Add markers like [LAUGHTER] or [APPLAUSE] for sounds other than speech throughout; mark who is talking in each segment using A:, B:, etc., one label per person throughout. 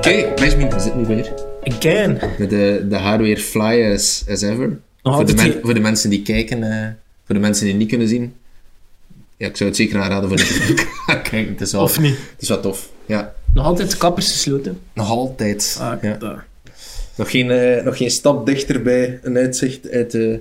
A: Kijk, Benjamin, hij zit nu weer.
B: Again.
A: Met de, de haar weer fly as, as ever.
B: Oh,
A: voor, de
B: dat
A: men-
B: die-
A: voor de mensen die kijken, eh, voor de mensen die niet kunnen zien. Ja, ik zou het zeker aanraden [LAUGHS] voor de kijken. Het is wel,
B: Of niet?
A: Het is wel tof. Ja,
B: Nog altijd de kappers gesloten.
A: nog altijd.
B: Ah,
A: ja.
B: daar.
A: Nog geen, eh, nog geen stap dichter bij een uitzicht uit eh, de...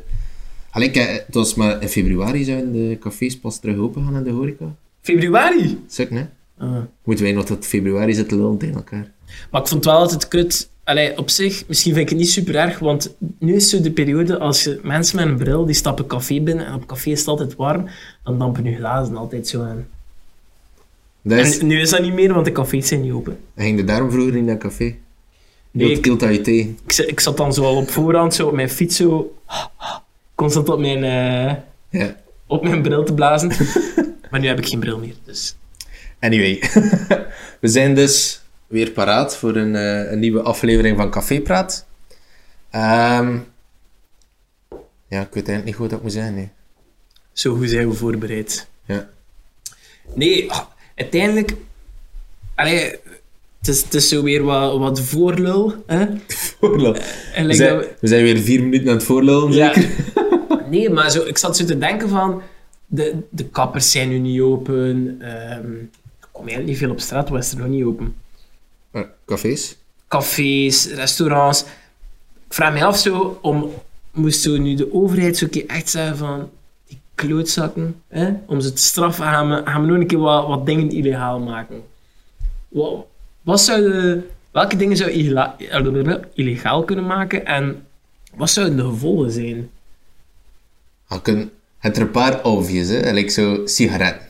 A: Alleen, kijk, eh, het was maar in februari zouden de cafés pas terug open gaan in de horeca.
B: Februari.
A: Suk, hè?
B: Ah.
A: Moeten wij nog tot februari zitten lullen tegen elkaar.
B: Maar ik vond wel altijd kut. Allee, op zich, misschien vind ik het niet super erg, want nu is zo de periode als je mensen met een bril die stappen café binnen en op café is het altijd warm, dan dampen je glazen altijd zo aan.
A: Dat is,
B: En nu is dat niet meer, want de cafés zijn niet open.
A: Ging je Dus, daarom vroeger in dat café?
B: Nee,
A: Nee,
B: ik-
A: Kilt dat je thee.
B: Ik, zi- ik zat dan zo al op voorhand zo op mijn fiets zo constant op mijn, eh,
A: Ja.
B: op mijn bril te
A: [LAUGHS]
B: blazen. maar nu heb ik geen bril meer, dus...
A: Anyway, [LAUGHS] we zijn dus weer paraat voor een, eh, een nieuwe aflevering van Café Praat. Ehm, ja, ik weet eigenlijk niet goed wat ik moet zeggen. nee.
B: Zo goed zijn we voorbereid.
A: Ja. [LAUGHS]
B: Nee, ah, uiteindelijk... Allee, het is, het is zo weer wat, wat voorlul, hè?
A: Voorlul.
B: En
A: We
B: like
A: zijn,
B: dat we-
A: we zijn weer vier minuten aan het voorlullen,
B: Ja.
A: zeker?
B: [LAUGHS] Nee, maar zo, ik zat zo te denken van... De, de kappers zijn nu niet open. ehm er komt eigenlijk niet veel op straat, was er nog niet open.
A: Maar cafés?
B: Cafés, restaurants. Ik vraag me af zo, om, moest zo nu de overheid zo een keer echt zeggen van... Die klootzakken, hè? om ze te straffen, gaan we, gaan we nog een keer wat, wat dingen illegaal maken. Wat, wat zouden, welke dingen zou je illa- eh, illegaal kunnen maken en wat zouden de gevolgen zijn?
A: Al kun- Het er een paar obvious, hè? Like zo sigaretten.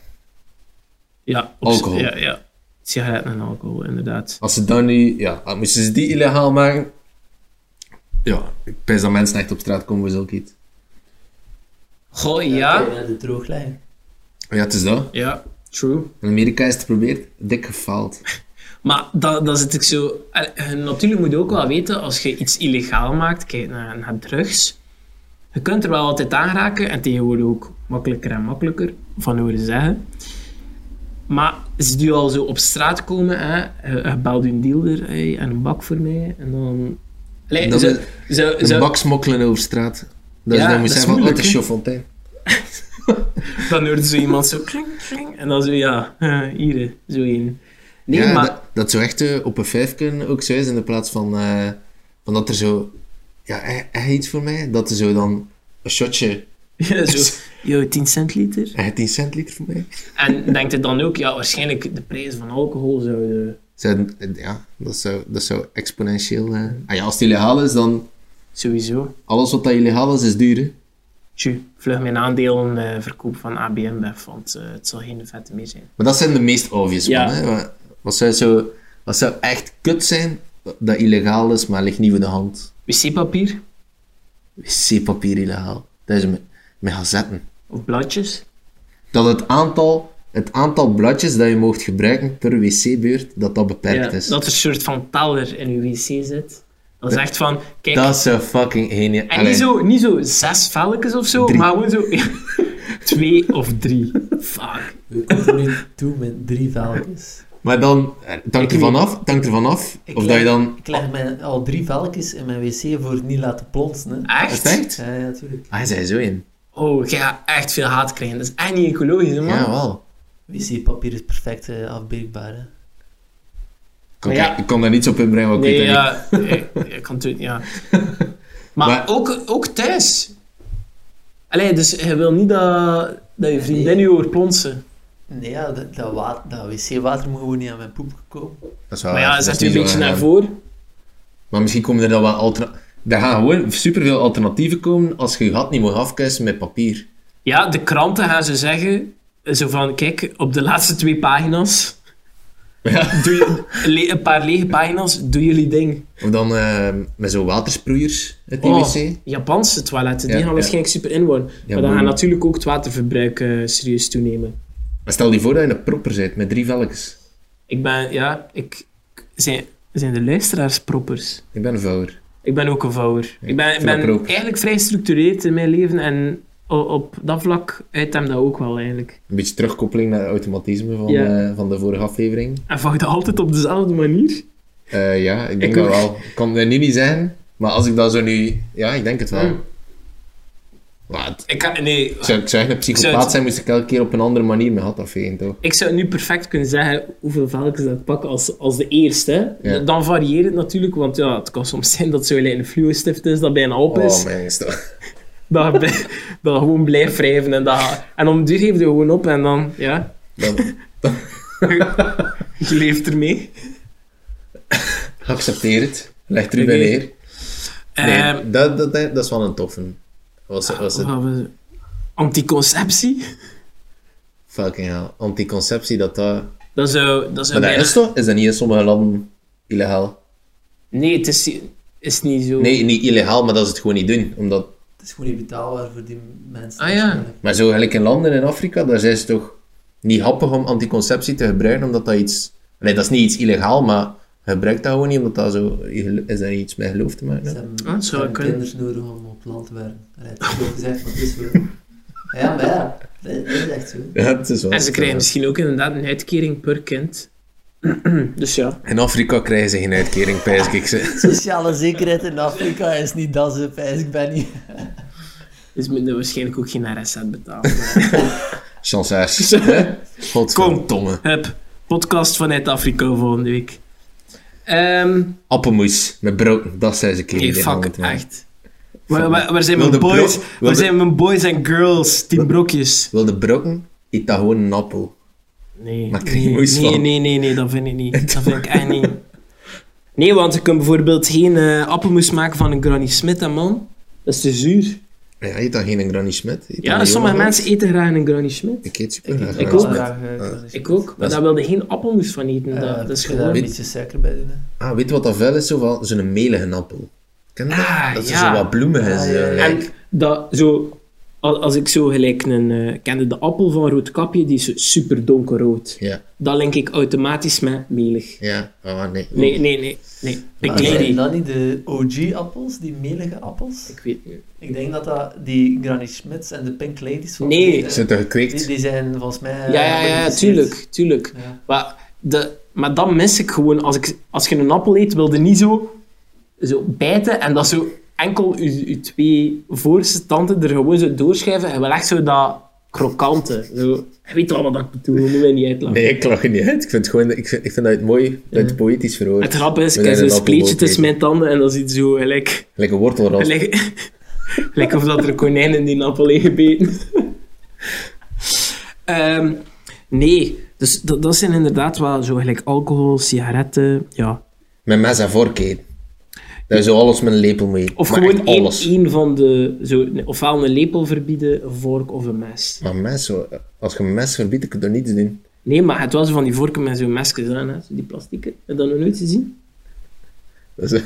B: Ja, op-
A: Alcohol.
B: Ja, ja. Sigaretten en alcohol, inderdaad.
A: Als ze dan nu, ja, ah, moesten ze die illegaal maken? Ja, ik pens dat mensen echt op straat komen voor zulk iets.
B: Goh, ja.
C: de drooglijnen.
A: Ja, het is dat.
B: Ja, true.
A: In Amerika is het geprobeerd, dik gefaald.
B: Maar dat, dat zit ik zo... en- en Natuurlijk moet je ook wel weten, als je iets illegaal maakt, kijk naar, naar drugs, je kunt er wel altijd aan raken, en tegenwoordig ook makkelijker en makkelijker, van horen zeggen. Maar ze die al zo op straat komen, hè, je, je belt een dealer hey, en een bak voor mij, en dan... Allee,
A: Dat
B: zo,
A: is-
B: zo,
A: Een
B: zo-
A: bak smokkelen over straat. Dat is
B: Ja,
A: dan
B: dat
A: moet
B: is
A: zijn van, oh,
B: moeilijk,
A: het is
B: hè?
A: Chaudfontein.
B: Dan hoorde zo iemand zo kling, kling, en dan zo, ja, [LAUGHS] eh, hier, hè, zo één. Nee,
A: ja,
B: maar...
A: dat, dat zo echt eh, op een vijfken ook zo is, in de plaats van, eh, van dat er zo... Ja, echt, echt iets voor mij. Dat er zo dan een shotje,
B: Ja, [LAUGHS]
A: [LAUGHS]
B: zo, yo, 10 cent liter.
A: echt 10 cent liter voor mij.
B: En denkt het dan ook, ja, waarschijnlijk de prijs van alcohol zouden...
A: Zou- ja, dat zou, dat zou exponentieel... eh, Ah ja, als het illegaal is, dan...
B: Sowieso.
A: Alles wat dat illegaal is, is duur, hè.
B: Tjoe, vlug mijn aandelen eh, verkopen van ABM weg, want eh, het zal geen vette meer zijn.
A: Maar dat zijn de meest obvious
B: Ja.
A: van, hè. Wat- Wat zou, zo, wat zou echt kut zijn, dat illegaal is, maar ligt niet voor de hand.
B: Wc-papier?
A: wc-papier illegaal. Dat is met, met gazetten.
B: Of bladjes?
A: Dat het aantal, het aantal bladjes dat je mocht gebruiken per wc-beurt, dat dat beperkt
B: Ja,
A: is.
B: dat er een soort van teller in uw wc zit. Dat is echt van, kijk...
A: Dat is een fucking geniaal.
B: en niet zo, niet zo zes velletjes of zo,
A: Drie.
B: maar gewoon zo... [LAUGHS] twee of drie. Fuck.
C: We komen er nu toe met drie velkjes.
A: Maar dan, eh, het hangt
B: Ik
A: ervan af, het hangt ervan af
C: Ik
A: of
C: leg-
A: dat je dan...
C: Ik leg mijn, al drie velkjes in mijn wc voor het niet laten plonsen. Hè.
A: Is het
B: Echt?
A: echt?
C: Ja, ja, natuurlijk.
A: Ah, je zei zo in.
B: Oh, jij gaat echt veel haat krijgen. Dat is echt niet ecologisch, man.
A: Ja, wel.
C: Wc-papier is perfect eh, afbreekbaar. Hè.
A: Ik kon,
B: Maar ja.
A: ik kon daar niets op inbrengen, want ik
B: Nee,
A: weet dat niet.
B: ja, ik, ik kan het
A: [LAUGHS]
B: ja. Maar,
A: Maar-
B: ook, ook thuis. Allee, dus je wil niet dat, dat je vriendin je hoort plonsen.
A: Ah,
C: Nee, ja, dat, dat, wa- dat wc-water moet gewoon niet aan mijn poep komen.
A: Dat is wel
B: maar
A: waar,
B: ja,
A: dat is
B: zet je een
A: niet zo
B: beetje naar
A: aangenaam.
B: voren.
A: Maar misschien komen er dan wel alternatieven... Er gaan gewoon superveel alternatieven komen als je je gat niet mag afkuisen met papier.
B: Ja, de kranten gaan ze zeggen, eh, zo van, kijk, op de laatste twee pagina's,
A: [LAUGHS] Ja.
B: doe je, le- een paar lege pagina's, doe jullie ding.
A: Of dan eh, met zo'n watersproeiers uit die
B: Oh,
A: wc.
B: Japanse toiletten, die
A: Ja,
B: gaan
A: ja.
B: waarschijnlijk super inwonen. maar dan
A: boem.
B: gaan natuurlijk ook het waterverbruik eh, serieus toenemen.
A: Maar stel je voor dat je een propper bent met drie velkens.
B: Ik ben, ja, ik... Zijn, zijn de luisteraars proppers?
A: Ik ben een vouwer.
B: Ik ben ook een vouwer. Ik ben,
A: ik vind dat
B: ben
A: proper.
B: eigenlijk vrij gestructureerd in mijn leven en o- op dat vlak uit hem dat ook wel eigenlijk.
A: Een beetje terugkoppeling naar het automatisme van,
B: Ja.
A: eh, van de vorige aflevering.
B: En vaak dat altijd op dezelfde manier.
A: Eh, ja, ik denk
B: Ik
A: dat
B: ook.
A: wel. Ik kan het nu niet zeggen, maar als ik dat zo nu... Ja, ik denk het wel.
B: Hmm.
A: Maar het-
B: Ik kan, nee,
A: ik zou, ik zou echt een
B: zou
A: psychopaat
B: het-
A: zijn, moest ik elke keer op een andere manier met hot afvegen, toch?
B: ik zou nu perfect kunnen zeggen hoeveel velkens dat ik pak als, als de eerste.
A: Ja.
B: Dan varieert het natuurlijk, want ja, het kan soms zijn dat zo'n een fluo-stift is dat bijna op is.
A: Oh, mijn is toch...
B: dat, je bij- dat je gewoon blijft wrijven en dat je- En om de duur geef je gewoon op en dan, ja,
A: Dat
B: [LAUGHS] je leeft ermee.
A: accepteer het. Leg er u bij
B: Oké.
A: neer. Nee,
B: Ehm,
A: dat, dat, dat is wel een toffe. Was, was
B: wat
A: het
B: gaan we- Anticonceptie?
A: fucking hell. Anticonceptie, dat dat...
B: Dat zou, dat zou
A: Maar dat
B: bijna-
A: is toch? Is dat niet in sommige landen illegaal?
B: Nee, het is, is niet zo.
A: Nee, niet illegaal, maar dat ze het gewoon niet doen. Omdat...
C: Het is gewoon niet betaalbaar voor die mensen.
B: Ah, ja.
C: waarschijnlijk.
A: Maar zo gelijk in landen in Afrika, daar zijn ze toch niet happig om anticonceptie te gebruiken, omdat dat iets... Nee, dat is niet iets illegaal, maar gebruik dat gewoon niet, omdat dat zo... Is daar iets mee geloof te maken?
C: Ze
A: hè?
C: hebben,
B: Ah,
C: ze
B: zou
C: hebben
B: kunnen.
C: kinderen nodig om op land te werken. Allee, Het is gewoon gezegd, maar het is wel... Ja, maar ja. Dat dat is echt zo.
A: Ja, het is wel...
B: En ze krijgen misschien ook inderdaad een uitkering per kind. [CLEARS THROAT] dus ja.
A: In Afrika krijgen ze geen uitkering, pijs ik [LAUGHS] ze.
C: Sociale zekerheid in Afrika is niet dat ze pijs, ik ben niet...
B: Dus moeten we waarschijnlijk ook geen RSZ
A: [LAUGHS]
B: betalen.
A: Chansaars. Godverdomme.
B: Hup, podcast vanuit Afrika volgende week. Ehm
A: Appelmoes met brood, dat zijn ze keer.
B: nee,
A: die
B: fuck,
A: handen te maken.
B: echt. Waar, waar, waar zijn
A: Wil
B: mijn
A: de bro-
B: boys?
A: wil
B: Waar
A: de-
B: zijn mijn boys en girls? Team Brokjes.
A: Wil de brokken? Eet dat gewoon een appel.
B: Nee,
A: Maar ik krijg
B: nee,
A: moeite
B: nee,
A: van.
B: nee, nee, nee, dat vind ik niet. Dat vind ik echt
A: [LAUGHS]
B: niet. Nee, want je kunt bijvoorbeeld geen eh appelmoes maken van een Granny Smith, hè, man. Dat is te zuur.
A: Ja, eet dat geen Granny Smit? Eet dat
B: Ja,
A: niet
B: sommige
A: jongen?
B: mensen eten graag een Granny Smith.
A: Ik eet super graag
B: ik
A: Granny
B: ook.
A: Smit.
B: Ik ook, maar
A: Dat is-
B: daar wilde geen appelmoes van eten.
C: Eh,
B: dat, dat is
C: kun je daar
B: gewoon...
C: een beetje suiker bij doen. hè?
A: Ah, weet je wat dat wel is? Zo van- Zo'n melige appel. Ken je dat?
B: Ah,
A: dat ze
B: ja.
A: zo wat bloemig is.
C: Ah, ja,
A: eh,
C: ja.
A: gelijk.
B: En dat zo... al- Als ik zo gelijk een... eh, kende de appel van Roodkapje, die is super donkerrood.
A: Ja,
B: Dat link ik automatisch met melig.
A: ja. Ah, nee.
B: Nee, nee, nee. Ah, nee. Ik
C: Maar zijn
B: lady.
C: dat niet de OG-appels, die melige appels?
B: Ik weet niet.
C: Ik denk dat dat die Granny Smits en de Pink Ladies... van-
B: Nee.
C: die- eh,
A: Ze zijn toch gekweekt?
C: Die, die zijn volgens mij... eh,
B: Ja, ja, ja,
C: gemodificeerd.
B: tuurlijk, tuurlijk.
C: Ja.
B: Maar, de, maar dat mis ik gewoon. Als, ik, als je een appel eet, wilde niet zo, zo bijten en dat zo enkel je, je twee voorste tanden er gewoon zo doorschuiven en wel echt zo dat krokante. Zo. Je weet wel wat ik bedoel, dat moet mij niet uitlachen.
A: Nee, ik lach er niet uit. Ik vind, gewoon, ik vind, ik vind dat het mooi, dat het poëtisch verhoord.
B: Mm. Het grap is,
A: We
B: ik heb
A: zijn een
B: zo'n spleetje
A: appelboom
B: tussen mijn tanden en dat is iets zo gelijk.
A: Lekker wortelras.
B: Gelijk, [LAUGHS] gelijk of dat er een konijn in die appel heeft gebeten. [LAUGHS] Ehm, nee, dus dat, dat zijn inderdaad wel zo gelijk alcohol, sigaretten, ja.
A: Met mes en vork eten. Daar is zo alles met een lepel mee.
B: Of
A: Maar
B: gewoon
A: echt
B: één,
A: alles.
B: één van de... Zo, ofwel een lepel verbieden, een vork of een mes.
A: Maar mes, zo, als je een mes verbiedt, kun je er niets doen.
B: Nee, maar het was van die vorken met zo'n mesjes aan, hè, zo die plastieke. Heb je dat nog nooit gezien?
A: Dat is-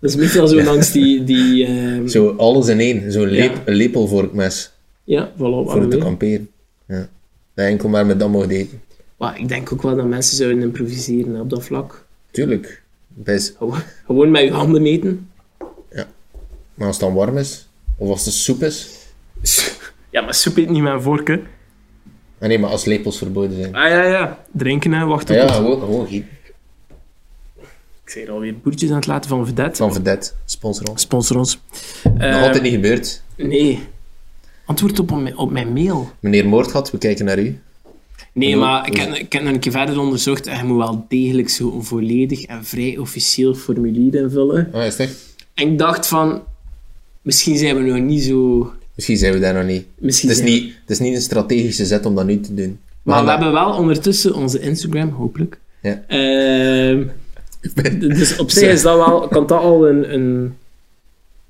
B: Dat is meestal zo langs
A: [LAUGHS]
B: die... die ehm,
A: Zo alles in één. Zo'n leep,
B: Ja. Oh,
A: een lepelvorkmes
B: Ja, voilà.
A: voor
B: waarom
A: te
B: niet?
A: kamperen. Ja. Dat je enkel maar met dat mocht eten.
B: Maar ik denk ook wel dat mensen zouden improviseren hè, op dat vlak.
A: Tuurlijk. Dat is,
B: Gewoon- Gewoon met je handen meten.
A: maar als het dan warm is, of als het soep is.
B: Ja, maar soep eet niet met een vork, hè.
A: Ah, nee, maar als lepels verboden zijn.
B: Ah ja, ja. Drinken, hè. Wachten
A: Ah, ja,
B: tot-
A: gewoon, gewoon gieten.
B: Ik zei er alweer boertjes aan het laten van Vedette.
A: Van Verdet, sponsor ons.
B: Sponsor ons.
A: Nog
B: Ehm,
A: altijd niet gebeurd.
B: Nee. Antwoord op, mijn- op mijn mail.
A: Meneer Moordgat, we kijken naar u.
B: Nee,
A: Hallo?
B: maar ik heb, ik heb nog een keer verder onderzocht en je moet wel degelijk zo'n volledig en vrij officieel formulier invullen.
A: Ah, is het echt?
B: En ik dacht van, misschien zijn we nog niet zo...
A: Misschien zijn we daar nog niet.
B: Misschien
A: Het is
B: zijn we-
A: niet, het is niet een strategische zet om dat nu te doen. We
B: Maar
A: gaan
B: we
A: dat-
B: hebben wel ondertussen onze Instagram, hopelijk.
A: Ja.
B: Ehm, d- dus op zich is dat wel, kan dat al een... een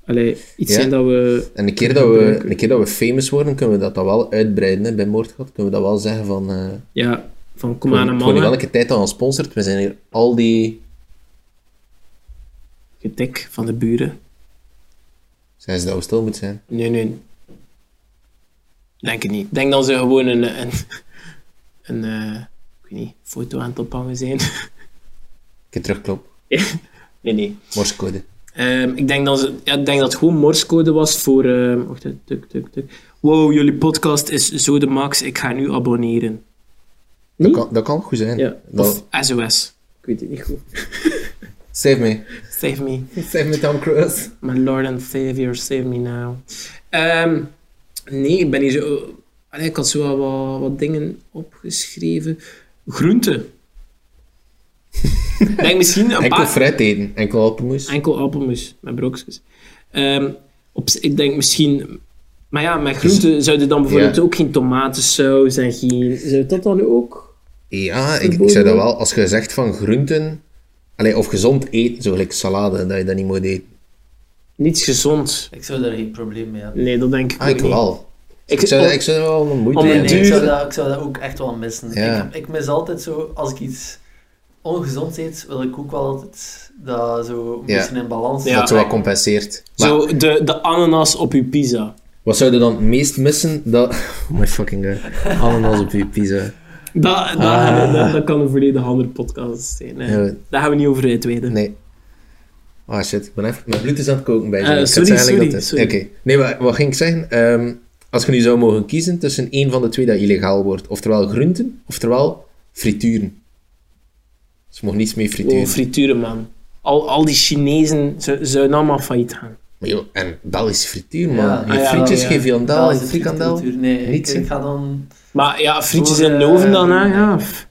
B: allee, iets
A: Ja.
B: zijn dat we...
A: En een keer, dat we, een keer dat we famous worden, kunnen we dat dan wel uitbreiden hè, bij Moordgat. Kunnen we dat wel zeggen van... eh,
B: Ja, van kom
A: Gewoon
B: aan een
A: gewoon in
B: mannen,
A: welke tijd dan sponsort. We zijn hier al die...
B: getik van de buren.
A: Zijn ze dat we stil moeten zijn?
B: Nee, nee. Denk het niet. Ik Denk dat ze gewoon een, een, een eh, ik weet niet, foto aan het ophangen zijn. [LAUGHS]
A: Een keer terugklop.
B: Nee, nee.
A: Morsecode.
B: Ehm, ik, denk dat ze, ja, ik denk dat het gewoon morsecode was voor... ehm, wacht even, tuk, tuk, tuk. Wow, jullie podcast is zo de max, ik ga nu abonneren.
A: Dat
B: Nee?
A: kan, dat kan goed zijn.
B: Ja.
A: Dat-
B: Of SOS. Ik weet het niet goed.
A: Save me.
B: [LAUGHS] Save me.
A: Save me, Tom Cruise.
B: My Lord and Savior, save me now. Ehm, nee, ik ben hier zo... Allee, ik had zo wel wat, wat dingen opgeschreven.
A: [LAUGHS]
B: Groenten. Ik denk misschien een
A: Enkel
B: paar...
A: fruit eten. Enkel appelmoes.
B: Enkel appelmoes met brokjes. Ehm, op, ik denk misschien... Maar ja, met groenten zouden dan bijvoorbeeld
A: Dus- Ja.
B: ook geen tomatensaus en geen... Zou dat dan ook?
A: Ja, ik, ik zou dat wel... Als je zegt van groenten... Allee, of gezond eten, zo gelijk salade, dat je dat niet moet eten.
B: Niets gezond.
C: Ik zou daar geen probleem mee hebben.
B: Nee, dat denk ik
A: Ah,
B: ook
A: ik
B: niet.
A: wel.
B: Ik,
A: Ik zou,
B: om-
A: ik zou dat wel een moeite
B: om een
A: hebben.
C: Nee, ik, zou
B: duur-
C: dat, ik zou dat ook echt wel missen.
A: Ja.
C: Ik, ik mis altijd zo, als ik iets ongezond eet, wil ik ook wel altijd dat zo een
A: Ja.
C: beetje in balans
B: Ja.
C: zijn.
A: Dat zo wat compenseert. Maar
B: Zo de, de ananas op je pizza.
A: wat zou je dan het meest missen? Dat... [LAUGHS] Oh my fucking god. Ananas op je pizza.
B: Dat, dat,
A: Ah.
B: dat, dat kan een volledig andere podcast zijn. hè.
A: Ja.
B: Daar gaan we niet over uitweiden.
A: Nee. Ah shit, ik ben even... Mijn bloed is aan het koken bij je.
B: Eh,
A: Ik had
B: sorry,
A: eigenlijk
B: sorry,
A: dat-
B: sorry.
A: Oké. Nee, maar wat ging ik zeggen? Ehm, als je nu zou mogen kiezen tussen één van de twee dat illegaal wordt. Oftewel groenten, oftewel frituren. Ze mogen niets meer frituren.
B: Oh, frituren, man. Al, al die Chinezen zou- zouden allemaal failliet gaan.
A: maar joh, en Belgische frituur, man.
C: Ja.
A: Je
B: Ah, ja,
A: frietjes,
B: ja.
A: geen
C: Dat
A: viandel,
C: is
A: geen
C: de
A: frikandel.
C: frituurcultuur. Nee, ik,
A: Niets, hè?
C: ik ga dan...
B: Maar ja, frietjes
C: Voor,
B: in de
C: eh,
B: oven dan, hè? Ja. pff.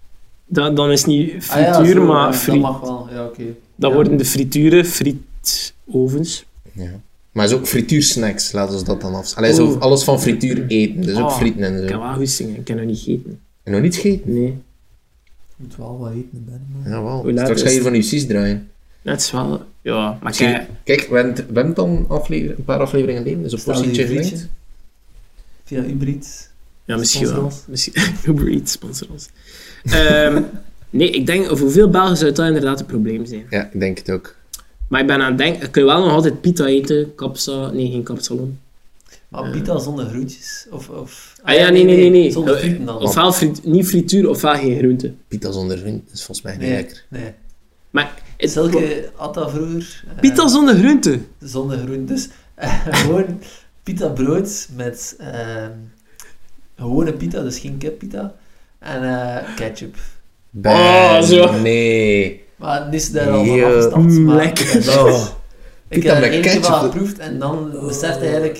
B: Dan, dan is het niet
C: Ah ja,
B: frituur,
C: zo,
B: maar
C: ja,
B: friet.
C: Dat
B: Dan,
C: mag wel, ja oké. ja.
B: worden de frituren frietovens.
A: Ja. Maar zo frituursnacks, laten we dat dan af. Allee, zo
B: Oeh. alles
A: alles van frituur eten, dus ook
B: Oh,
A: frieten en
B: Ik kan
A: zo.
B: wel goed zingen, ik kan nog niet eten.
A: En nog niet gegeten?
B: Nee,
C: Moet wel wat eten, ben man.
A: Jawel.
B: Hoe laat
A: Straks
B: is
A: ga je hier
B: het?
A: van je sis draaien.
B: dat is wel. Ja, maar
A: Misschien-
B: kijk,
A: Kijk, we hebben het- we hebben het al een aflever- een paar afleveringen geleden, dus op
C: Stel je
A: portietje
C: frietje.
A: gelinkt.
C: Via Uber Eats.
B: ja, misschien wel.
C: Sponsor ons.
B: Misschien, [LAUGHS] Uber Eats sponsor ons. Ehm, nee, ik denk voor veel Belgen zou dat inderdaad een probleem zijn.
A: Ja, ik denk het ook.
B: Maar ik ben aan het denken, kun je wel nog altijd pita eten? Kapsa, nee, geen kapsalon.
C: Maar pita zonder groentjes? Of, of...
B: Ah ja, nee, nee, nee. nee.
C: Zonder
B: Eh,
C: frieten dan?
B: Ofwel frit, niet frituur, ofwel geen groente.
A: Pita zonder vriend is volgens mij niet
C: nee,
A: lekker.
C: nee.
B: Maar het,
C: Zelke had dat vroeger. eh,
B: pita zonder groente?
C: zonder groen. Dus eh, [LAUGHS] gewoon pita brood met ehm, gewone pita, dus geen kippita. En eh, ketchup.
A: Ben,
B: Oh, zo.
A: Nee.
C: Maar nu is daar al van
A: Ja.
C: afgestapt.
B: Mm,
C: Maar
B: lekker.
C: Ik, heb-
A: Oh,
C: ik
A: pita
C: heb er
A: met
C: eentje
A: ketchup.
C: van geproefd en dan besefte eigenlijk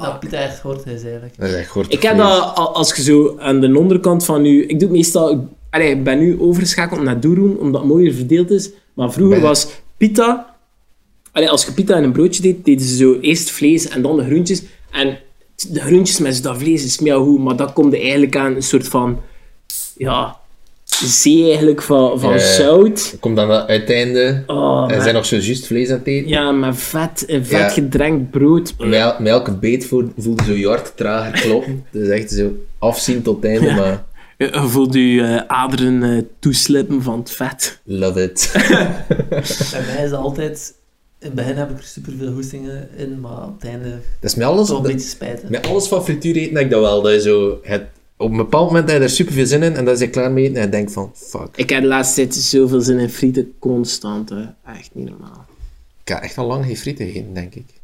C: dat pita echt hoort is eigenlijk.
A: dat is echt goed.
B: Ik heb dat al- als je zo aan de onderkant van je... Ik doe het meestal... Allee, ik ben nu overgeschakeld naar doeroen, omdat het mooier verdeeld is. Maar vroeger
A: Ben-
B: was pita... Allee, als je pita in een broodje deed, deden ze zo eerst vlees en dan de groentjes. En de groentjes met dat vlees is meer goed, maar dat komt eigenlijk aan een soort van... Ja... Zee eigenlijk van, van
A: Ja, ja, ja.
B: zout.
A: Komt dan dat uiteinde.
B: Oh,
A: en
B: met-
A: zijn nog zo juist vlees aan het eten.
B: Ja, maar vet, een
A: Ja.
B: vet gedrenkt brood.
A: Met, el- met elke beet voel- voelde zo je hart trager kloppen. [LAUGHS] dus echt zo afzien tot het einde, maar
B: Je je voelt je eh, aderen eh, toeslippen van het vet.
A: love it. [LAUGHS]
C: Bij mij is dat altijd... In het begin heb ik er superveel hoestingen in, maar op het einde
A: Dat is met alles,
C: toch een
A: dat-
C: beetje spijt. hè.
A: met alles van frituur eten heb ik dat wel. Dat je zo, het, op een bepaald moment heb je er super veel zin in en dan is je klaar mee eten en je denkt van fuck.
B: Ik heb de laatste tijd zoveel zin in frieten, constant. hè. Echt niet normaal.
A: Ik heb echt al lang geen frieten gegeten, denk ik. Ik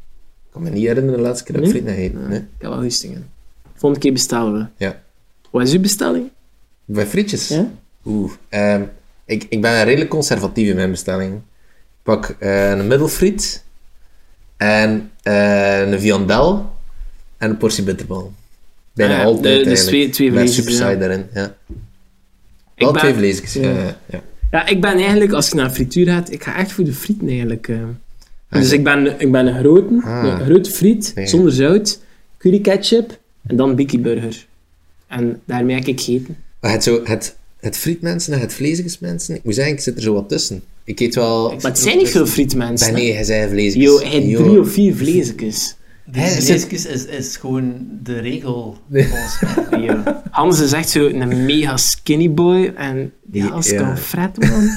A: kan me niet herinneren de laatste keer dat ik
B: Nee?
A: frieten heb gegeten. Nee.
B: Ik heb wel hoestingen. Volgende keer bestellen we.
A: Ja.
B: Wat is uw bestelling?
A: Bij frietjes?
B: Ah. Ja?
A: Oeh. ehm, ik, ik ben redelijk conservatief in mijn bestelling. Ik pak eh, een middelfriet en eh, een viandel en een portie bitterbal. Bijna
B: Ah ja,
A: altijd
B: de- dus
A: eigenlijk.
B: twee- twee
A: Met
B: vleesjes,
A: super saai
B: ja.
A: daarin, ja. Wel
B: ben-
A: twee vleesjes, ja. ja, ja.
B: Ja, ik ben eigenlijk, als ik naar frituur ga, ik ga echt voor de frieten eigenlijk. eh.
A: Ah,
B: Dus
A: nee.
B: ik ben, ik ben een grote,
A: Ah.
B: een grote friet,
A: Nee.
B: zonder zout, curry ketchup en dan bikkie burger. En daarmee heb ik gegeten.
A: Maar het, zo, het, het frietmensen en het vleesjesmensen, ik moet zeggen, ik zit er zo wat tussen. Ik eet wel...
B: Maar het zijn niet veel frietmensen.
A: Ben
B: hè.
A: nee, hij zei vleesjes.
B: Yo, hij heeft
A: Yo.
B: drie of vier vleesjes.
C: Die
A: Hè, is
C: vleesjes is, is gewoon de regel,
A: Nee.
C: volgens
A: [LAUGHS]
C: mij.
B: Yo. Hans is echt zo een mega skinny boy en die gast
A: Ja.
B: kan fret, man.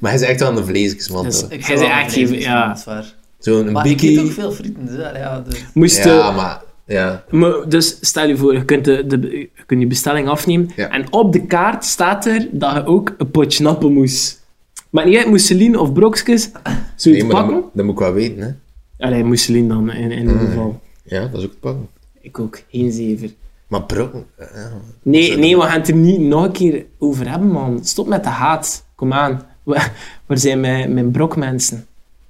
A: Maar hij is echt wel een vleesjes, man.
B: Dat is-
A: toch?
C: Dus Ik
B: Hij
C: zou
B: zei
C: wel
B: echt
C: vleesjes
B: geen-
C: doen,
B: ja.
C: dat is waar.
A: Zo'n
C: Maar ik eet ook
A: bikkie.
C: veel frieten, dus ja, ja, dus- [LAUGHS]
B: Moest
A: Ja,
B: eh,
A: maar... Ja.
B: maar, dus stel je voor, je kunt, de, de, je kunt je bestelling afnemen
A: Ja.
B: en op de kaart staat er dat je ook een potje appelmoes. Maar niet uit mousseline of brokjes, zoiets
A: Nee, maar dat,
B: pakken.
A: moet- dat moet ik wel weten, hè.
B: Allee, mousseline dan in, in ieder geval.
A: Ja, dat is ook het pakken.
B: Ik ook, geen zever.
A: Maar bro... Ja.
B: Nee, nee, we gaan het er niet nog een keer over hebben, man. Stop met de haat. Kom aan. Wa- Waar zijn mijn, mijn brokmensen?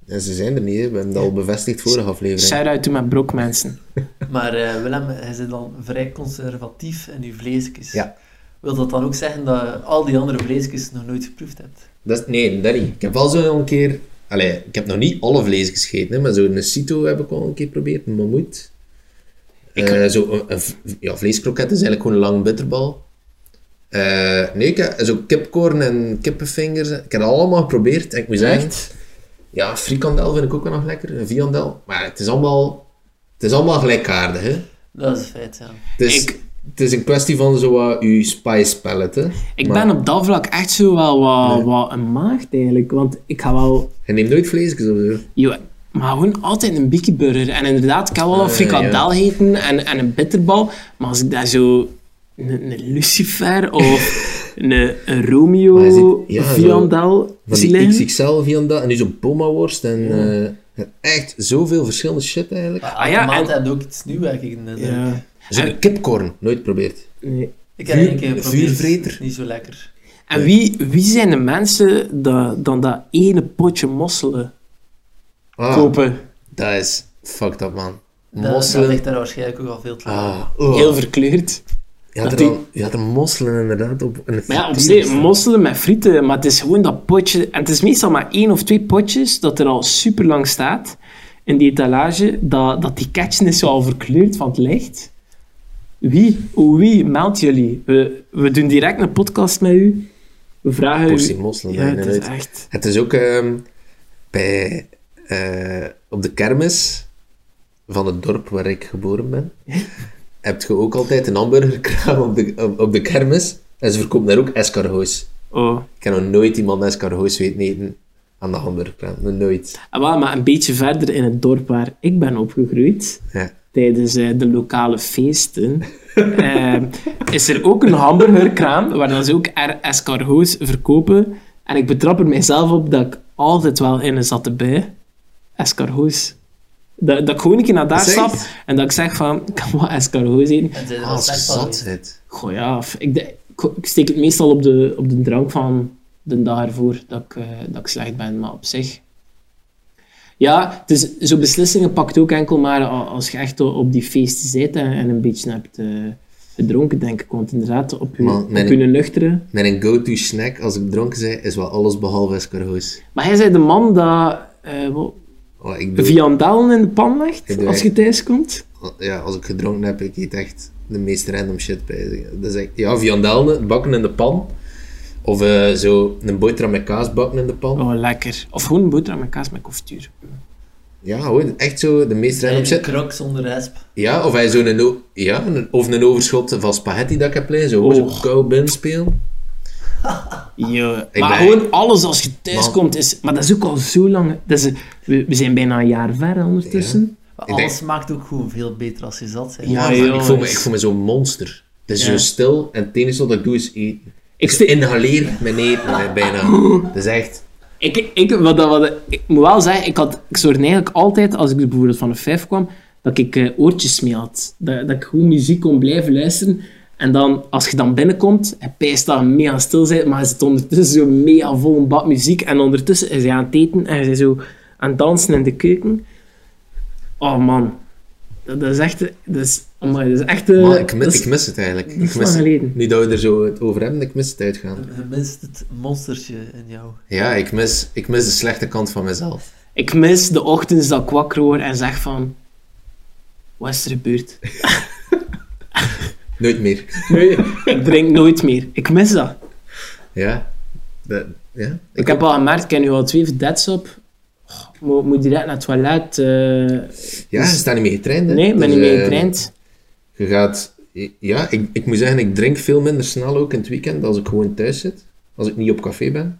A: En ze zijn er niet, hè. we hebben dat al bevestigd vorige aflevering.
B: Shout-out to mijn brokmensen.
C: Maar eh, Willem, hij zit dan vrij conservatief in uw vleesjes.
A: Ja.
C: Wil dat dan ook zeggen dat je al die andere vleesjes nog nooit geproefd hebt?
A: Dat is, nee, dat niet. Ik heb wel zo een keer... Allee, ik heb nog niet alle vlees gegeten, hè, maar zo'n cito heb ik wel een keer geprobeerd, een mammoet.
B: Ik-
A: Eh, zo een, een v- ja, vleeskroket is eigenlijk gewoon een lang bitterbal. Eh, nee, ik heb zo kipkorn en kippenvingers. Ik heb dat allemaal geprobeerd en ik moet zeggen... Ja, frikandel vind ik ook wel nog lekker, een viandel. Maar het is allemaal, het is allemaal gelijkaardig, hè.
C: Dat is een feit, ja.
A: Het is,
B: Ik-
A: het is een kwestie van zo wat uw spice palette, hè.
B: Ik
A: Maar
B: ben op dat vlak echt zo wel wat, wat een maagd eigenlijk. Want ik ga wel...
A: Je neemt nooit vleesjes of zo.
B: Yo, maar gewoon altijd een Biggie Burger. En inderdaad, ik kan wel een
A: Eh,
B: frikandel eten en, en een bitterbal. Maar als ik daar zo een, een Lucifer of
A: [LAUGHS]
B: een, een Romeo
A: Maar je ziet- ja, zo-
B: viandel
A: Van
B: zie
A: die
B: liggen.
A: XXL viandel en nu zo'n Boma-worst en
B: Oh.
A: eh, echt zoveel verschillende shit eigenlijk.
C: Maar
B: Ah,
C: elke
B: ja,
C: maand
B: en-
C: heb je ook iets nieuws dus, eigenlijk. in de-
B: Ja.
A: Zo'n kipkorn, nooit geprobeerd.
B: Nee.
C: Ik heb
A: Vuur-
C: één keer geprobeerd.
A: vuurvreter.
C: Niet zo lekker.
B: En wie, wie zijn de mensen dat, dan dat ene potje mosselen
A: Ah,
B: kopen?
A: dat is fucked up, man.
C: Dat,
A: Mosselen.
C: dat ligt daar waarschijnlijk ook al veel te lang.
A: ah, oh.
B: Heel verkleurd.
A: je, had
B: dat
A: er
B: die-
A: al- je had er mosselen inderdaad op. in het
B: Maar ja, op
A: frituur
B: zich,
A: staan.
B: mosselen met frieten, maar het is gewoon dat potje. En het is meestal maar één of twee potjes dat er al super lang staat in die etalage, dat, dat die ketchen is zo al verkleurd van het licht. Wie, oh wie, meld jullie. We, we doen direct een podcast met u. We vragen
A: Portie
B: u.
A: mosselen,
B: Ja,
A: nee,
B: het
A: nee,
B: is
A: nee.
B: echt.
A: Het is ook ehm, bij, eh, op de kermis van het dorp waar ik geboren
B: [LAUGHS]
A: ben. heb je ook altijd een hamburgerkraam op de, op, op de kermis. En ze verkopen daar ook escargots.
B: Oh.
A: Ik heb nog nooit iemand escargots weten eten aan de hamburgerkraam. Nog nooit.
B: Ah, wel, maar een beetje verder in het dorp waar ik ben opgegroeid,
A: Ja.
B: tijdens eh, de lokale feesten, [LAUGHS] eh, is er ook een hamburgerkraam waar dan ze ook er escargots verkopen. En ik betrap er mijzelf op dat ik altijd wel in een zatte bij escargots. Dat, dat ik gewoon een keer naar daar
A: Zeg.
B: stap en dat ik zeg van, ik kan wel escargots eten.
C: En zijn er al
A: Als je
C: slecht van
A: zat
C: geweest.
A: bent.
B: Goh ja, f- ik, de- ik- ik steek het meestal op de, op de drank van de dag ervoor dat ik, eh, dat ik slecht ben, maar op zich. Ja, het is- zo'n beslissingen pakt ook enkel maar a- als je echt o- op die feesten zit en, en een beetje hebt eh, gedronken, denk ik. Want inderdaad, op je,
A: Maar
B: op
A: mijn-
B: je nuchtere.
A: Mijn go-to snack als ik dronken ben, is wel alles behalve escargots.
B: Maar hij zei de man dat eh wat-
A: Oh, ik doe,
B: viandellen in de pan
A: Ik
B: legt
A: doe
B: als je thuis komt.
A: ja, als ik gedronken heb, ik eet echt de meest random shit bij. Dat is echt, ja, viandellen, bakken in de pan. Of eh, zo een boterham met kaas bakken in de pan.
B: Oh, lekker. Of gewoon een boterham met kaas met confituur.
A: Ja, hoor, echt zo de meest random
C: Een
A: shit.
C: krok zonder resp.
A: Ja, of hij zo'n o- ja, een- of een overschot van spaghetti dat ik heb liggen, zo,
B: Oh.
A: zo koud binnenspelen.
B: Ja,
A: Ik
B: maar
A: ben-
B: gewoon alles als je thuis
A: Man.
B: komt is... Maar dat is ook al zo lang... Dat is, we, we zijn bijna een jaar ver ondertussen.
C: Maar
A: Ik
C: alles
A: denk-
C: maakt ook gewoon veel beter als je zat bent.
B: Ja,
A: Ja, maar ik
B: jongens.
A: voel me, ik voel me zo'n monster. Het is
B: Ah, dus- Ja.
A: zo stil en het enige wat ik doe is eten.
B: Ik,
A: Ik
B: ste-
A: inhaleer mijn eten hè, bijna.
B: [GASPS]
A: Dat is echt...
B: ik, ik, wat, dat- wat, dat- ik moet wel zeggen, ik, had, ik zorgde eigenlijk altijd, als ik dus bijvoorbeeld van een vijf kwam, dat ik eh, oortjes mee had. Dat, dat ik gewoon muziek kon blijven luisteren. En dan, als je dan binnenkomt, hij pijst dat je mega stil bent, maar hij zit ondertussen zo mega vol een bad muziek. En ondertussen is hij aan het eten en hij is zo aan het dansen in de keuken. Oh man, dat, dat is echt... Dat is, amai, dat is echt... eh,
A: Man, ik, mi-
B: dat is-
A: ik mis het eigenlijk.
B: dat is
A: Ik mis
B: lang
A: het.
B: geleden.
A: Nu dat we er zo het over hebben, ik mis het uitgaan.
C: Je mist het monstertje in jou.
A: Ja, ik mis, ik mis de slechte kant van mezelf.
B: Ik mis de ochtends dat ik wakker word en zeg van... Wat is er gebeurd?
A: Nooit meer. [LAUGHS]
B: Nee, ik drink nooit meer. Ik mis dat.
A: Ja. Dat, ja.
B: Ik heb al gemerkt, ik heb nu al twee verdets op. Oh, ik moet, moet direct naar het toilet. eh.
A: Ja, je staat niet meer getraind. hè.
B: nee, ik ben
A: Dus,
B: niet meer
A: eh,
B: getraind.
A: Je gaat... Ja, ik, ik moet zeggen, ik drink veel minder snel ook in het weekend als ik gewoon thuis zit. Als ik niet op café ben.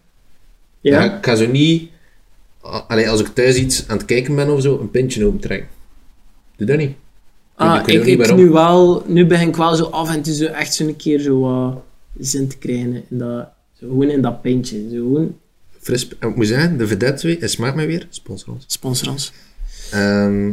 A: Ja.
B: Ja.
A: ik ga zo niet... a- Allee, als ik thuis iets aan het kijken ben of zo, een pintje opentrekken. Doe dat niet.
B: Ah,
A: ik weet
B: ik,
A: ook niet
B: ik
A: waarom.
B: nu wel... Nu begin ik wel zo af en toe zo echt zo'n keer zo wat zin te krijgen. In dat, zo gewoon in dat pintje. Zo gewoon...
A: Fris, en ik moet zeggen, de vedette twee, en smaakt mij weer, sponsor ons.
B: Sponsor ons.
A: Ehm,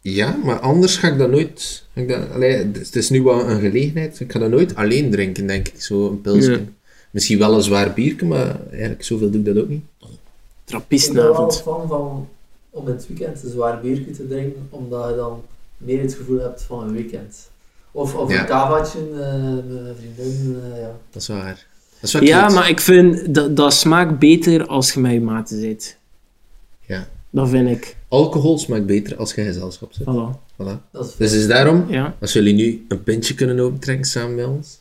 A: ja, maar anders ga ik dat nooit... Ga ik dat, allee, het is nu wel een gelegenheid, ik ga dat nooit alleen drinken, denk ik, zo een pilsje.
B: Nee.
A: Misschien wel een zwaar bierke, maar eigenlijk zoveel doe ik dat ook niet.
C: Ik ben wel
B: Trappistenavond.
C: fan van om in het weekend een zwaar biertje te drinken, omdat je dan meer het gevoel hebt van een weekend. Of, of
A: Ja.
C: een kavaatje, eh, met mijn vriendin, eh, ja.
A: Dat is waar. Dat is wel
B: Ja,
A: cute.
B: maar ik vind dat, dat smaakt beter als je met je maten zit.
A: Ja.
B: Dat vind ik.
A: Alcohol smaakt beter als je in gezelschap zit.
B: Voilà.
A: Voilà.
C: Dat is
A: Dus is daarom,
B: Ja.
A: als jullie nu een pintje kunnen opentrekken samen met ons,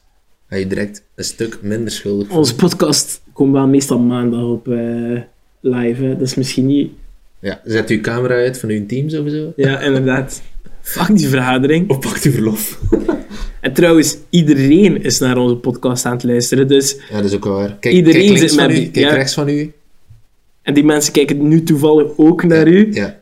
A: ga je direct een stuk minder schuldig voelen.
B: Onze podcast komt wel meestal maandag op eh, live. Hè. Dat is misschien niet.
A: Ja, zet uw camera uit van uw teams of zo.
B: Ja, inderdaad. Fuck die vergadering.
A: Of pakt uw verlof.
B: En trouwens, iedereen is naar onze podcast aan het luisteren. Dus,
A: Ja, dat is ook wel waar. Kijk,
B: Iedereen
A: kijk links
B: zit
A: van
B: met
A: u,
B: die-
A: kijk
B: ja.
A: rechts van u.
B: en die mensen kijken nu toevallig ook naar u.
A: Ja,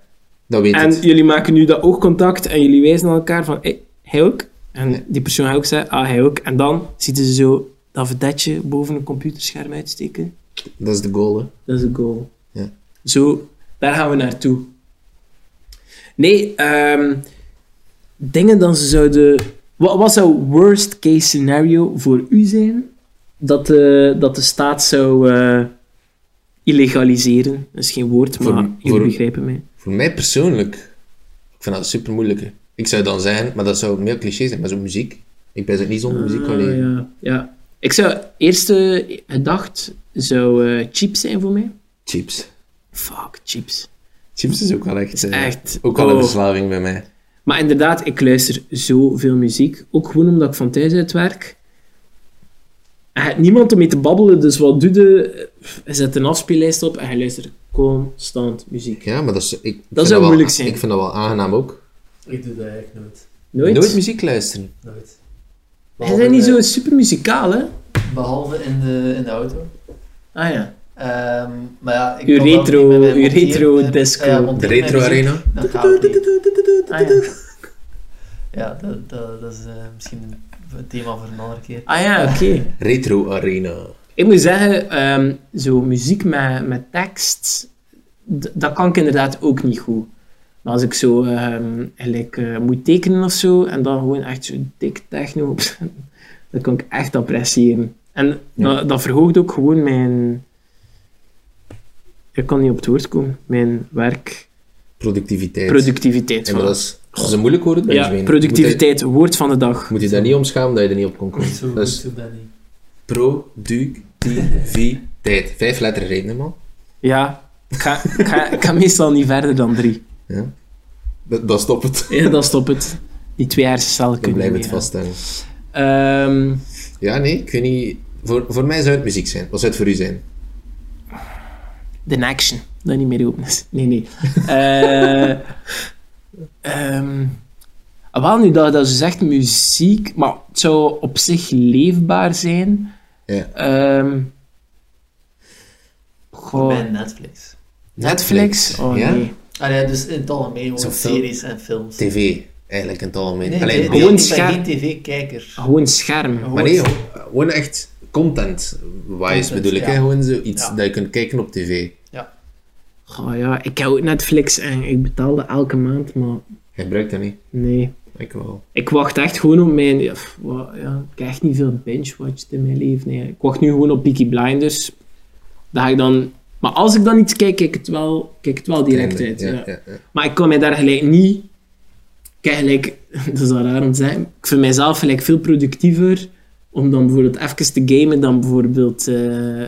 A: dat weet
B: En
A: het.
B: jullie maken nu dat oogcontact en jullie wijzen naar elkaar van, hey, hij ook. En
A: Ja.
B: die persoon gaat ook zeggen, ah, hij ook. En dan zitten ze zo dat vedetje boven een computerscherm uitsteken.
A: Dat is de goal, hè.
B: Dat is een goal.
A: Ja.
B: Zo, daar gaan we naartoe. Nee, ehm, dingen dan ze zouden... Wat, wat zou worst case scenario voor u zijn? Dat de, dat de staat zou eh, illegaliseren. Dat is geen woord,
A: Voor-
B: maar jullie
A: voor-
B: begrijpen mij.
A: Voor mij persoonlijk, ik vind dat super moeilijk. hè. Ik zou dan zeggen, maar dat zou meer cliché zijn, maar zo'n muziek. Ik ben zo niet zonder muziek kan
B: Ah,
A: leven.
B: ja. ja. Ik zou eerste gedacht zou eh chips zijn voor mij.
A: Chips.
B: Fuck, chips.
A: Chips is ook wel echt, eh,
B: Echt.
A: ook wel een
B: oh.
A: verslaving bij mij.
B: Maar inderdaad, ik luister zoveel muziek. Ook gewoon omdat ik van thuis uit werk. En je hebt niemand om mee te babbelen, dus wat doe je? Je zet een afspeellijst op en je luistert constant muziek.
A: Ja, maar dat is... Ik vind
B: zou
A: wel-
B: moeilijk zijn.
A: Ik vind dat wel aangenaam ook.
C: Ik doe dat eigenlijk nooit.
B: Nooit?
A: Nooit muziek luisteren.
C: Nooit.
B: Je bent niet zo super muzikaal, hè?
C: Behalve in de, in de auto.
B: Ah ja.
C: Ehm, maar ja, ik
B: Uw
C: kan wel
B: retro-
C: niet met mijn
B: uw
C: monteren-
B: retro disco.
C: Ah ja,
A: De
C: monteren met
A: retro
C: muziek,
A: arena.
C: dat gaat niet.
B: Ah ja,
C: Ja, dat, dat, dat is eh, misschien een thema voor een andere keer.
B: ah, ja oké.
A: Retro arena.
B: Ik moet zeggen, ehm, zo muziek met, met tekst, d- dat kan ik inderdaad ook niet goed. Maar als ik zo ehm, eigenlijk, eh, moet tekenen of zo, en dan gewoon echt zo dik techno [LAUGHS] opzetten, dat kan ik echt appreciëren. En dat, dat verhoogt ook gewoon mijn... Ik kan niet op het woord komen. Mijn
A: Productiviteit.
B: werkproductiviteit.
A: Ja, maar
B: voilà.
A: dat is, dat is een moeilijk woord.
B: ja, productiviteit, woord van de dag.
A: Moet je daar niet om schamen dat je er niet op kon komen.
C: Zo
A: Dat
C: goed,
A: is
C: zo ben ik.
A: productiviteit. Vijf letters rekenen, man.
B: Ja, ik ga, ik ga, ik ga meestal niet verder dan drie.
A: Ja. Dat, dat stopt het.
B: Ja, dan stop het. Die twee hersencellen
A: Dan
B: kunnen
A: blijven we
B: niet
A: het
B: meer.
A: vaststellen.
B: Ehm,
A: Ja, nee, ik weet niet... Voor, voor mij zou het muziek zijn. Wat zou het voor u zijn?
B: de action. Dat niet meer open is. Nee, nee. Eh [LAUGHS] ehm, ah, wel, nu dat, dat ze zegt muziek, maar het zou op zich leefbaar zijn.
A: Ja.
B: Ehm,
C: Voor
B: goh,
A: Oh.
C: mij Netflix.
B: Netflix? Oh
A: ja?
B: nee.
C: Ah ja, dus in het algemeen
A: Zo'n
C: gewoon
A: film.
C: series en films.
A: TV, eigenlijk in het algemeen.
C: Nee,
A: Alleen,
B: gewoon
C: nee, nee, ik ben
B: scherp.
C: geen tv-kijker.
A: Oh.
B: Gewoon scherm.
A: Maar nee, gewoon- gewoon echt content-wise
C: Content,
A: bedoel ik.
C: ja.
A: Hè? Gewoon zoiets
C: Ja.
A: dat je kunt kijken op tv.
B: Goh, ja, ik heb ook Netflix en ik betaalde elke maand, maar
A: Jij gebruikt dat niet.
B: nee.
A: Ik wel.
B: Ik wacht echt gewoon op mijn... Ja, pff, wa- ja, ik heb echt niet veel binge-watched in mijn leven. Nee. Ik wacht nu gewoon op Peaky Blinders. Daar ga ik dan... Maar als ik dan iets kijk, kijk ik het wel, kijk het wel direct uit.
A: Ja,
B: Ja.
A: ja, ja.
B: Maar ik kan mij daar gelijk niet... Ik heb gelijk... [LAUGHS] Dat is wel raar om te zeggen. Ik vind mijzelf gelijk veel productiever om dan bijvoorbeeld even te gamen dan bijvoorbeeld eh,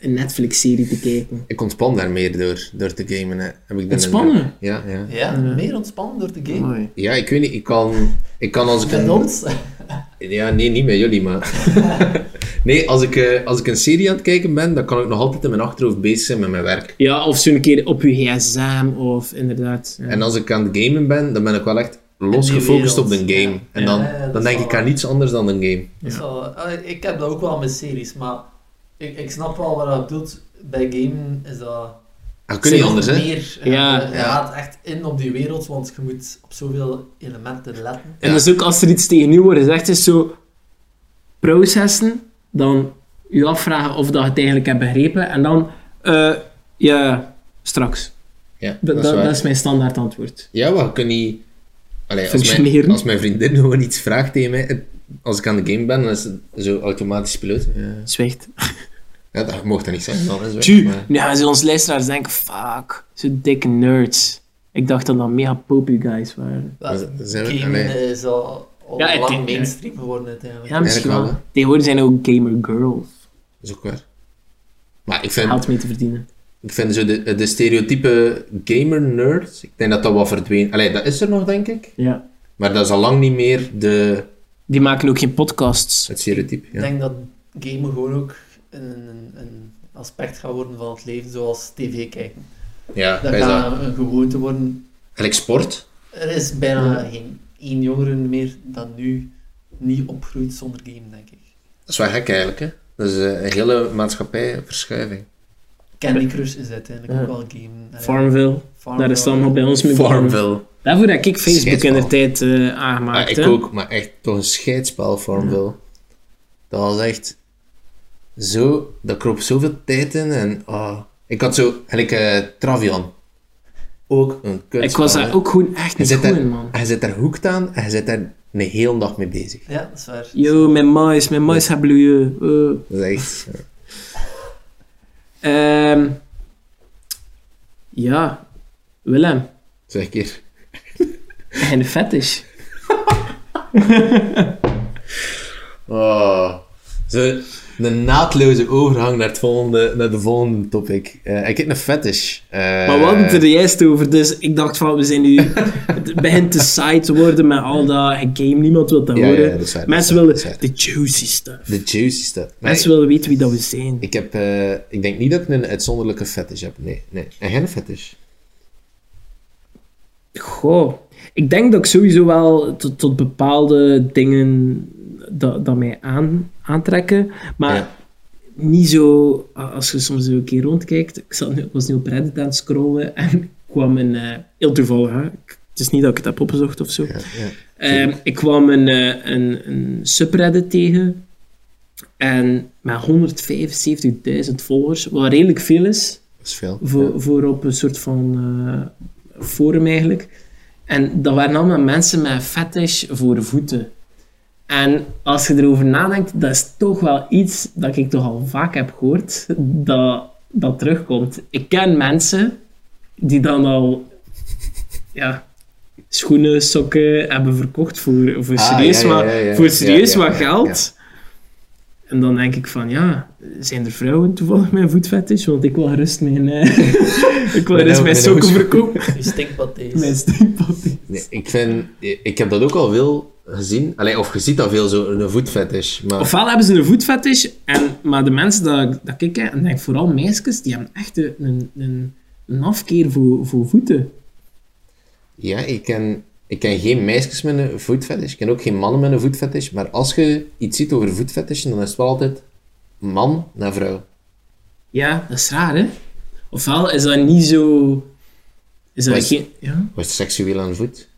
B: een Netflix-serie te kijken.
A: Ik ontspan daar meer door, door te gamen. Hè. Heb ik dan
B: Ontspannen?
A: Een, ja, ja.
C: Ja,
B: Ja.
C: meer ontspannen door Dus te gamen.
B: Mooi.
A: ja, ik weet niet. Ik kan, ik kan als ik
C: Met
A: een,
C: [LAUGHS] ons.
A: Ja, nee, niet met jullie, maar...
C: [LAUGHS]
A: nee, als ik, eh, als ik een serie aan het kijken ben, dan kan ik nog altijd in mijn achterhoofd bezig zijn met mijn werk.
B: Ja, of zo'n keer op je gsm of inderdaad... ja.
A: En als ik aan het gamen ben, dan ben ik wel echt los
C: In die
A: gefocust op de
C: wereld,
A: game.
C: ja.
A: En dan,
C: Ja, ja, dat
A: dan
C: is
A: denk
C: wel
A: ik aan
C: waar.
A: niets anders dan een game.
C: Dat is wel- ah, ik heb dat ook wel met series, maar ik, ik snap wel wat dat bedoelt. Bij gamen is dat...
A: Dat Ah, kun je niet
B: Zeg,
A: anders, hè?
C: Meer,
B: Ja.
C: ja, je gaat echt in op die wereld, want je moet op zoveel elementen letten.
A: Ja.
B: En dat is ook als er iets tegen u wordt gezegd, is zo processen, dan u afvragen of dat je het eigenlijk hebt begrepen en dan eh, ja, straks.
A: Ja,
B: Dat, dat,
A: is waar.
B: dat is mijn standaard antwoord.
A: Ja, maar je kunt niet... Allee, als, mijn,
B: Functioneren.
A: als mijn vriendin gewoon iets vraagt tegen mij, het als ik aan de game ben, dan is het zo automatisch piloot. Ja,
B: Zwicht.
A: ja dat mocht dat niet zijn. Dan is het
B: Tju,
A: weg, maar-
B: nu gaan ze ons luisteraars denken, fuck, zo dikke nerds. Ik dacht dat dat mega popu guys waren.
A: Maar zijn we-
C: Game
A: nee.
C: is al, al
B: Ja, het-
C: lang mainstream geworden uiteindelijk.
B: Ja, misschien
A: wel,
B: wel.
A: hè.
B: Tegenwoordig zijn er ook gamer girls.
A: Dat is ook waar. Maar ik
B: Haalt
A: vind,
B: mee te verdienen.
A: ik vind zo de, de stereotype gamer-nerd, ik denk dat dat wel verdwenen... Allee, dat is er nog, denk ik.
B: Ja.
A: Maar dat is al lang niet meer de,
B: Die maken ook geen podcasts.
A: het stereotype.
C: Ik
A: Ja.
C: denk dat gamen gewoon ook een, een, een aspect gaat worden van het leven, zoals tv kijken.
A: Ja,
C: Dat
A: dat is dat.
C: gaat een gewoonte worden.
A: Gelijk sport.
C: Er is bijna
B: Ja.
C: geen één jongere meer dan nu niet opgroeit zonder game, denk ik.
A: Dat is wel gek eigenlijk, hè. Dat is eh, een hele maatschappijverschuiving.
C: Candy Crush is uiteindelijk
B: Ja.
C: ook wel een game. Eh,
B: Farmville,
C: Farmville.
B: daar is het allemaal bij ons mee begonnen.
A: Farmville.
B: Daarvoor heb ik Facebook in
A: Scheidsbal.
B: de tijd eh, aangemaakt.
A: Ah, ik
B: hè.
A: ook, maar echt toch een scheidspel Farmville. Dat was echt zo... Dat kroop zoveel tijd in en... ah. Ik had zo... Gelijk eh, Travian. Ook een kutspel.
B: Ik was daar
A: hè.
B: ook gewoon echt
A: Je
B: niet
A: zit,
B: goed
A: daar,
B: in, man.
A: hij zit daar hoekt aan en hij zit daar een hele dag mee bezig.
C: Ja, dat is waar.
B: Yo, mijn muis, mijn muis gaat bloeien. Eh.
A: Dat is echt... ja.
B: Ehm ja, Willem,
A: Zeg een keer.
B: en de fetish.
A: Oh. Zo, een naadloze overgang naar, het volgende, naar de volgende topic. Eh, ik heb een fetish. Eh,
B: Maar we hadden het er juist over, dus ik dacht van, we zijn nu... Het begint te saai te worden met al dat game, niemand wil dat
A: Ja, ja,
B: horen.
A: dat is waar,
B: Mensen
A: dat is waar,
B: willen
A: dat is waar.
B: de juicy stuff.
A: De juicy stuff. Nee,
B: Mensen willen weten wie dat we zijn.
A: ik, heb, eh, ik denk niet dat ik een uitzonderlijke fetish heb. Nee, nee. En geen fetish.
B: Goh. Ik denk dat ik sowieso wel tot, tot bepaalde dingen dat, dat mij aan, aantrekken. Maar
A: Ja.
B: niet zo... a- Als je soms een keer rondkijkt... Ik zat nu, ik was nu op Reddit aan het scrollen en [LAUGHS] kwam een... eh, heel toevallig, hè. Ik- Het is niet dat ik het heb opgezocht of zo.
A: Ja, ja.
B: Ehm, ik kwam een, eh, een, een subreddit tegen. En met 175.000 volgers, wat redelijk veel is
A: Dat is veel.
B: voor, voor op een soort van eh, forum eigenlijk. En dat waren allemaal mensen met een fetish voor voeten. En als je erover nadenkt, dat is toch wel iets dat ik toch al vaak heb gehoord, dat, dat terugkomt. Ik ken mensen die dan al ja, schoenen, sokken hebben verkocht voor, voor
A: Ah,
B: serieus,
A: ja, ja,
B: wat-
A: ja, ja.
B: Voor serieus
A: Ja, ja,
B: wat
A: ja,
B: geld. En dan denk ik van, ja, zijn er vrouwen toevallig mijn voetfetish? Want ik wil gerust mijn, eh, [LAUGHS] ik wil
A: Mijn
B: gerust
A: ogen-
B: mijn
A: mijn
B: sokken
A: ogen-
B: [LAUGHS] verkopen.
C: Je stinkt wat deze.
B: Mijn stinkpotty.
A: Nee, ik, vind, ik heb dat ook al veel gezien. Allee, of je ziet dat veel, zo een voetfetish. Maar...
B: Ofwel hebben ze een voetfetish, en, maar de mensen dat, ik- dat ik kijk, en denk vooral meisjes, die hebben echt een, een, een, een afkeer voor, voor voeten.
A: Ja, ik ken, ik ken geen meisjes met een voetfetish. Ik ken ook geen mannen met een voetfetish. Maar als je iets ziet over voetfetishen, dan is het wel altijd man naar vrouw.
B: Ja, dat is raar, hè? Ofwel is dat niet zo... Is dat
A: Maar is-
B: geen... Ja,
A: Wat is seksueel aan de voet?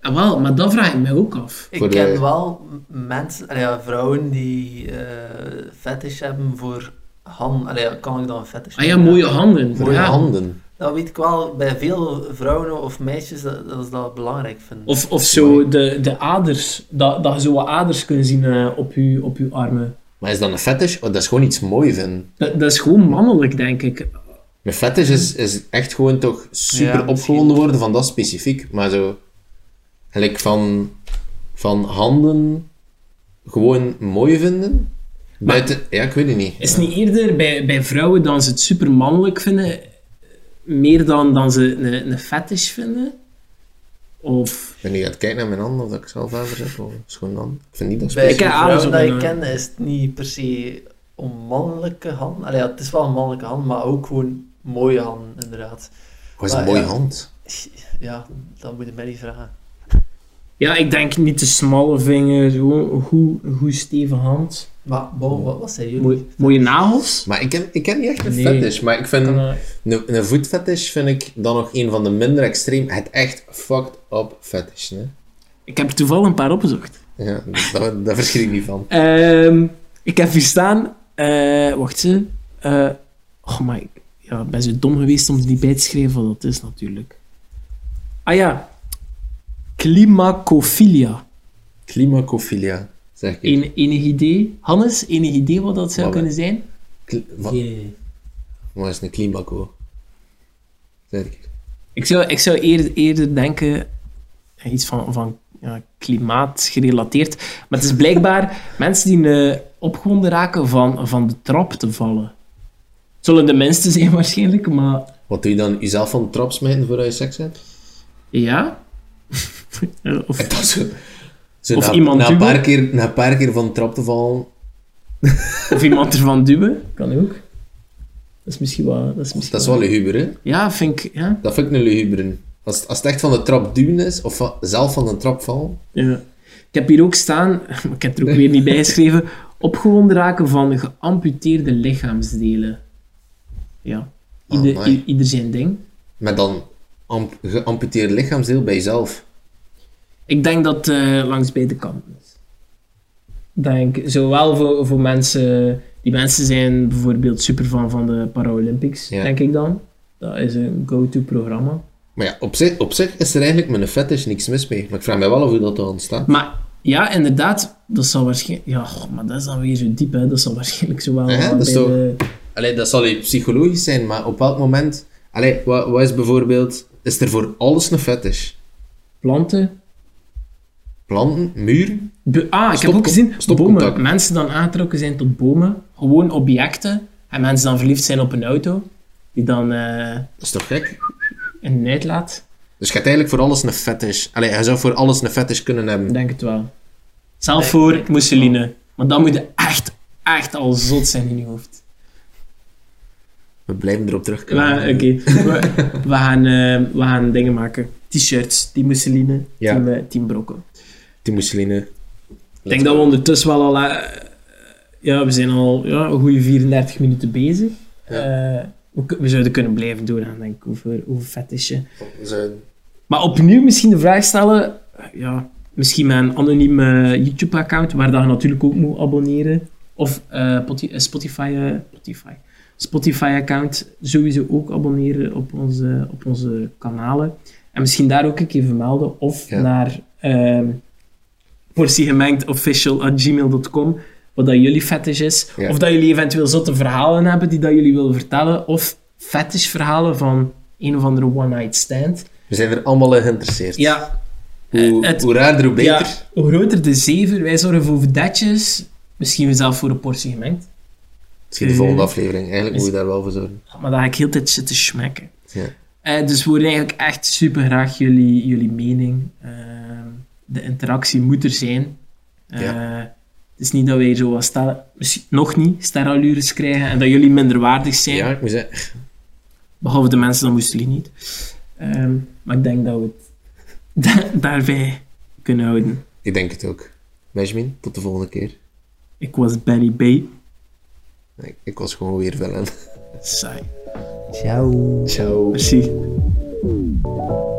B: Ah, wel, maar dat vraag ik mij ook af.
C: Ik
A: Voor de-
C: ken wel m- mensen, allee, ja, vrouwen die eh fetish hebben voor handen. Allee, ja, kan ik dan een fetish
B: Ah ja,
C: noemen?
B: mooie handen.
A: Voor je
B: ja.
A: handen.
C: Dat weet ik wel, bij veel vrouwen of meisjes dat, dat ze dat belangrijk vinden.
B: Of, of zo de, de aders, dat, dat je zo wat aders kunt zien eh, op, je, op je armen.
A: Maar is dat een fetish? Oh, dat is gewoon iets mooi vinden.
B: Dat, dat is gewoon mannelijk, denk ik.
A: Een fetish is, is echt gewoon toch super
C: Ja,
A: opgewonden worden van dat specifiek. Maar zo... Gelijk van, van handen gewoon mooi vinden. Buiten... Ja, ik weet het niet.
B: Is het niet eerder bij, bij vrouwen dan ze het super mannelijk vinden, meer dan, dan ze een, een fetish vinden? Of...
A: Ik ben nu aan het kijken naar mijn handen, of dat ik zelf aanverzet, of schoon dan. Ik vind niet dat
C: bij
A: specifiek.
B: Ik ken
C: vrouwen
B: ouders
C: dat
B: op
C: ik
B: een-
C: ken is het niet per se om mannelijke handen. Allee, ja, het is wel een mannelijke hand, maar ook gewoon mooie handen, inderdaad.
A: Wat Oh, is een
C: Maar
A: mooie
C: ja.
A: hand.
C: Ja, dat moet je mij niet vragen.
B: Ja, ik denk niet de smalle vinger, gewoon een goed, een goed stevige hand.
C: Maar bon, wat, wat zijn jullie?
B: Mooi, mooie nagels.
A: Maar ik ken, ik ken niet echt een
B: Nee.
A: fetish. Maar ik vind,
B: Kan,
A: een,
B: eh,
A: een voetfetish vind ik dan nog een van de minder extreem. Het echt fucked up fetish. Hè?
B: Ik heb er toevallig een paar opgezocht.
A: Ja, daar, daar verschiet ik niet van.
B: Ehm, ik heb hier staan. eh, wacht ze. Eh, oh, maar ik ja, ik ben zo dom geweest om er niet bij te schrijven wat dat is natuurlijk. Ah ja. Climacophilia.
A: Climacophilia. Zeg ik.
B: Een, enig idee? Hannes, enig idee wat dat zou
A: Wat
B: kunnen zijn?
A: Kle- wa-
C: Geen idee.
A: Wat is een cleanbako? Zeg ik.
B: Ik zou, ik zou eerder, eerder denken aan iets van, van ja, klimaat gerelateerd. Maar het is blijkbaar [LAUGHS] mensen die eh, opgewonden raken van, van de trap te vallen. Het zullen de minste zijn [LAUGHS] waarschijnlijk, maar
A: Wat doe je dan? Jezelf van de trap smijten voordat je seks hebt?
B: ja. [LAUGHS]
A: En
B: of,
A: dat zo, zo
B: Of
A: na,
B: iemand
A: na een
B: duwen?
A: paar keer, na een paar keer van de trap te vallen.
B: of iemand ervan duwen, kan ook. Dat is misschien wel... Dat is, misschien
A: Dat is wel luguber, hè?
B: Ja, vind ik... Ja,
A: Dat vind ik een luguber. Als, als het echt van de trap duwen is, of van- zelf van de trap vallen.
B: ja. Ik heb hier ook staan, [LAUGHS] maar ik heb er ook weer niet bij geschreven, opgewonden raken van geamputeerde lichaamsdelen. Ja.
A: Oh,
B: Ieder,
A: mooi.
B: i- ieder zijn ding.
A: Met dan amp, geamputeerd lichaamsdeel bij jezelf.
B: Ik denk dat eh, langs beide kanten is. Ik Denk, zowel voor, voor mensen, die mensen zijn bijvoorbeeld super fan van de Paralympics,
A: Ja.
B: denk ik dan. Dat is een go-to programma.
A: Maar ja, op zich, op zich is er eigenlijk met een fetish niks mis mee. Maar ik vraag me wel af hoe dat er ontstaat.
B: Maar ja, inderdaad, dat zal waarschijnlijk. Ja, goh, maar dat is dan weer zo diep, hè? Dat zal waarschijnlijk zowel.
A: Ja, dat is
B: bij
A: toch-
B: de-
A: Allee, dat zal je psychologisch zijn, maar op welk moment... Allee, wat, wat is bijvoorbeeld... Is er voor alles een fetish?
B: planten.
A: Planten? Muren?
B: Be- ah, ik heb
A: Stopcon-
B: ook gezien,
A: stopcontact.
B: bomen. Mensen dan aangetrokken zijn tot bomen, gewoon objecten. En mensen dan verliefd zijn op een auto, die dan eh
A: Dat is toch gek?
B: een uitlaat.
A: Dus je hebt eigenlijk voor alles een fetish. Allee, je zou voor alles een fetish kunnen hebben.
B: Ik denk het wel. Zelf
C: Nee, ik
B: voor
C: denk het
B: mousseline. Maar dan moet je echt, echt al zot zijn in je hoofd.
A: We blijven erop terugkomen.
B: Maar oké, we, we gaan, eh, we gaan dingen maken. T-shirts, team mousseline,
A: Ja.
B: team, eh, team brokko.
A: Die mousseline.
B: Ik denk dat we ondertussen wel al... eh, ja, we zijn al ja, een goede 34 minuten bezig. Eh, we, kun- we zouden kunnen blijven doorgaan, denk ik, over, over fetishen. Maar opnieuw misschien de vraag stellen... eh, Ja, misschien met een anoniem eh, YouTube-account, waar dat je natuurlijk ook moet abonneren. Of eh, Poti- eh, Spotify... eh, Spotify. Spotify-account sowieso ook abonneren op onze, op onze kanalen. En misschien daar ook een keer vermelden. Of
A: Ja.
B: naar ehm portiegemengdofficial.gmail.com wat dat jullie fetish is.
A: Ja.
B: Of dat jullie eventueel zotte verhalen hebben die dat jullie willen vertellen. Of fetish verhalen van een of andere one-night stand.
A: We zijn er allemaal in geïnteresseerd.
B: Ja,
A: Hoe,
B: eh, het-
A: hoe raarder, hoe beter.
B: ja, hoe groter de zever, wij zorgen voor vedetjes. Misschien zelf voor een portie gemengd.
A: Misschien de
B: eh,
A: volgende aflevering. Eigenlijk
B: is-
A: moet je daar wel voor zorgen.
B: Maar dan ga ik heel de tijd zitten schmekken.
A: Ja.
B: Eh, dus we horen eigenlijk echt super graag jullie, jullie mening. Ehm, de interactie moet er zijn. Eh, Het is niet dat wij zo wat sterren, misschien nog niet sterallures krijgen en dat jullie minderwaardig zijn.
A: Ja, ik moet zeggen.
B: Behalve de mensen, dan moesten jullie niet. Ehm, maar ik denk dat we het [LAUGHS] da- daarbij kunnen houden.
A: Ik denk het ook. Benjamin, tot de volgende keer.
B: Ik was Benny B.
A: Ik, ik was gewoon weer wel aan.
B: Saai.
C: Ciao.
A: Ciao.
B: Merci.
A: Ciao.